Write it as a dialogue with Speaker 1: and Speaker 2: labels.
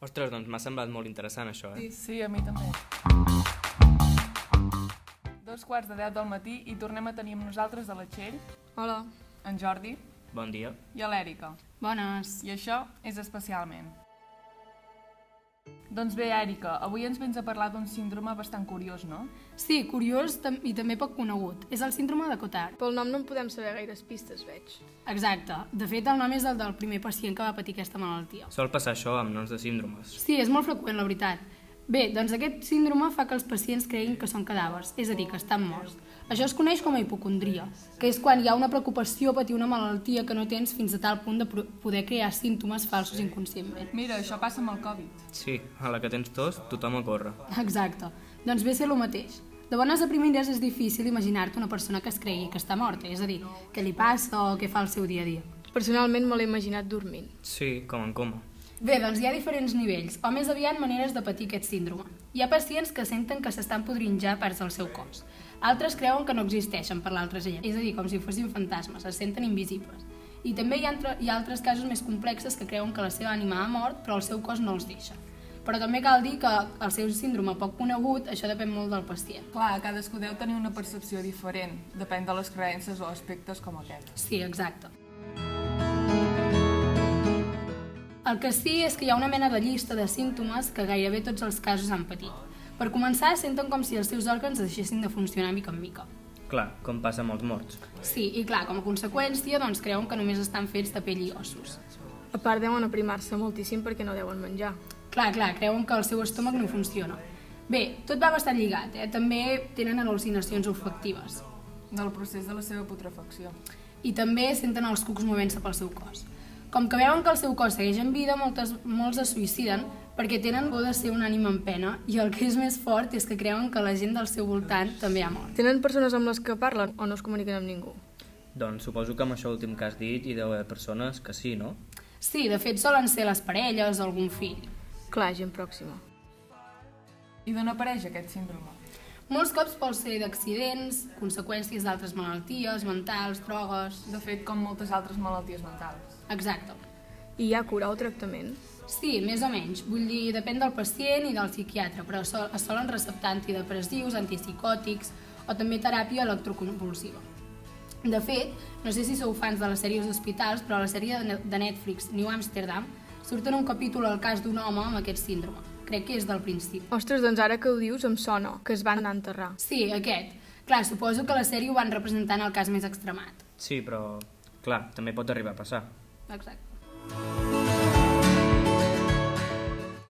Speaker 1: Ostres, doncs m'ha semblat molt interessant això, eh?
Speaker 2: Sí, sí, a mi també. Dos quarts de deu del matí i tornem a tenir amb nosaltres a la Txell,
Speaker 3: Hola.
Speaker 2: en Jordi
Speaker 1: Bon dia.
Speaker 2: i a l'Èrica.
Speaker 3: Bones.
Speaker 2: I això és especialment. Doncs bé, Èrica, avui ens vens a parlar d'un síndrome bastant curiós, no?
Speaker 3: Sí, curiós tam- i també poc conegut. És el síndrome de Cotard.
Speaker 4: Pel nom no en podem saber gaires pistes, veig.
Speaker 3: Exacte. De fet, el nom és el del primer pacient que va patir aquesta malaltia.
Speaker 1: Sol passar això amb noms de síndromes.
Speaker 3: Sí, és molt freqüent, la veritat. Bé, doncs aquest síndrome fa que els pacients creguin que són cadàvers, és a dir, que estan morts. Això es coneix com a hipocondria, que és quan hi ha una preocupació a patir una malaltia que no tens fins a tal punt de pro- poder crear símptomes falsos inconscientment.
Speaker 2: Mira, això passa amb el Covid.
Speaker 1: Sí, a la que tens tos, tothom a córrer.
Speaker 3: Exacte. Doncs ve a ser el mateix. De bones a primeres és difícil imaginar-te una persona que es cregui que està morta, és a dir, què li passa o què fa al seu dia a dia.
Speaker 4: Personalment me l'he imaginat dormint.
Speaker 1: Sí, com en coma.
Speaker 3: Bé, doncs hi ha diferents nivells, o més aviat maneres de patir aquest síndrome. Hi ha pacients que senten que s'estan podrint ja parts del seu cos. Altres creuen que no existeixen per l'altra gent, és a dir, com si fossin fantasmes, es senten invisibles. I també hi ha, altre, hi ha altres casos més complexes que creuen que la seva ànima ha mort, però el seu cos no els deixa. Però també cal dir que el seu síndrome poc conegut, això depèn molt del pacient.
Speaker 2: Clar, cadascú deu tenir una percepció diferent, depèn de les creences o aspectes com aquest.
Speaker 3: Sí, exacte. El que sí és que hi ha una mena de llista de símptomes que gairebé tots els casos han patit. Per començar, senten com si els seus òrgans deixessin de funcionar mica en mica.
Speaker 1: Clar, com passa amb els morts.
Speaker 3: Sí, i clar, com a conseqüència, doncs creuen que només estan fets de pell i ossos.
Speaker 4: A part, deuen aprimar-se moltíssim perquè no deuen menjar.
Speaker 3: Clar, clar, creuen que el seu estómac no funciona. Bé, tot va bastant lligat, eh? També tenen al·lucinacions olfactives.
Speaker 2: Del procés de la seva putrefacció.
Speaker 3: i també senten els cucs movent-se pel seu cos. Com que veuen que el seu cos segueix en vida, moltes, molts es suïciden perquè tenen por de ser una ànima en pena i el que és més fort és que creuen que la gent del seu voltant també ha mort.
Speaker 4: Tenen persones amb les que parlen o no es comuniquen amb ningú?
Speaker 1: Doncs suposo que amb això últim que has dit hi deu haver persones que sí, no?
Speaker 3: Sí, de fet solen ser les parelles o algun fill.
Speaker 4: Clar, gent pròxima.
Speaker 2: I d'on apareix aquest síndrome?
Speaker 3: Molts cops pot ser d'accidents, conseqüències d'altres malalties, mentals, drogues...
Speaker 2: De fet, com moltes altres malalties mentals.
Speaker 3: Exacte.
Speaker 4: I hi ha cura o tractament?
Speaker 3: Sí, més o menys. Vull dir, depèn del pacient i del psiquiatre, però sol, es solen receptar antidepressius, antipsicòtics o també teràpia electroconvulsiva. De fet, no sé si sou fans de les sèries d'hospitals, però a la sèrie de Ne- de Netflix New Amsterdam surt en un capítol el cas d'un home amb aquest síndrome. Crec que és del principi.
Speaker 4: Ostres, doncs ara que ho dius em sona, que es van anar a enterrar.
Speaker 3: Sí, aquest. Clar, suposo que la sèrie ho van representant el cas més extremat.
Speaker 1: Sí, però... Clar, també pot arribar a passar.
Speaker 3: Exacte.